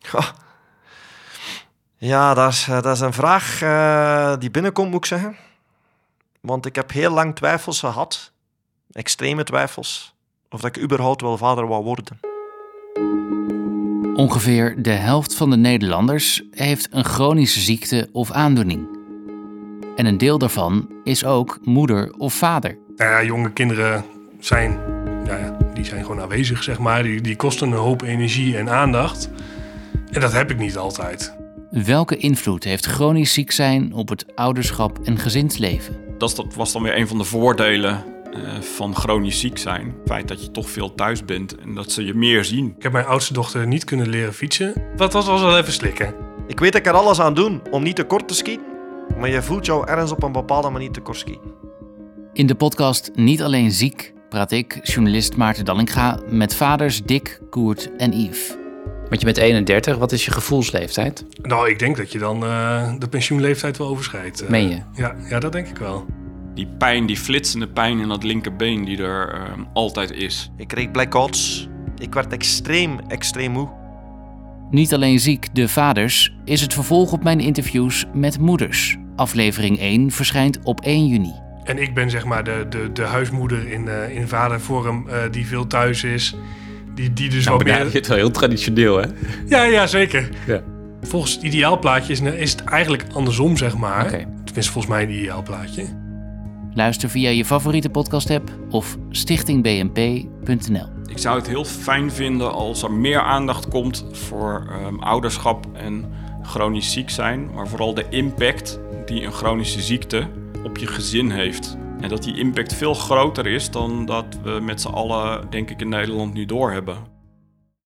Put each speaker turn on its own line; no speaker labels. Goh. Ja, dat is, dat is een vraag eh, die binnenkomt, moet ik zeggen. Want ik heb heel lang twijfels gehad, extreme twijfels, of dat ik überhaupt wel vader wou worden.
Ongeveer de helft van de Nederlanders heeft een chronische ziekte of aandoening. En een deel daarvan is ook moeder of vader.
Nou ja, jonge kinderen zijn, nou ja, die zijn gewoon aanwezig, zeg maar. Die, die kosten een hoop energie en aandacht. En dat heb ik niet altijd.
Welke invloed heeft chronisch ziek zijn op het ouderschap en gezinsleven?
Dat is- dat was dan weer een van de voordelen eh, van chronisch ziek zijn. Het feit dat je toch veel thuis bent en dat ze je meer zien.
Ik heb mijn oudste dochter niet kunnen leren fietsen. Dat was was wel even slikken.
Ik weet dat ik er alles aan doen om niet tekort te schieten, maar je voelt jou ergens op een bepaalde manier tekort schieten.
In de podcast Niet Alleen Ziek praat ik, journalist Maarten Dallinga, met vaders Dick, Koert en Yves.
Want je bent 31, wat is je gevoelsleeftijd?
Nou, ik denk dat je dan eh, de pensioenleeftijd wel overschrijdt. eh.
Meen je?
Ja, ja, dat denk ik wel.
Die pijn, die flitsende pijn in dat linkerbeen die er eh, altijd is.
Ik kreeg blackouts. Ik werd extreem, extreem moe.
Niet Alleen Ziek, de vaders is het vervolg op mijn interviews met moeders. Aflevering 1 verschijnt op 1 juni.
En ik ben zeg maar de, de, de huismoeder in, eh, in vadervorm eh, die veel thuis is. Die, die dus wat meer...
het wel heel traditioneel, hè? Oké.
Ja, ja, zeker.
Ja.
Volgens het ideaalplaatje is, is het eigenlijk andersom, zeg maar. Tenminste, volgens mij een ideaalplaatje.
Luister via je favoriete podcast-app of stichtingbnp.nl.
Ik zou het heel fijn vinden als er meer aandacht komt voor ehm, ouderschap en chronisch ziek zijn. Maar vooral de impact die een chronische ziekte op je gezin heeft. En dat die impact veel groter is dan dat we met z'n allen, denk ik, in Nederland nu doorhebben.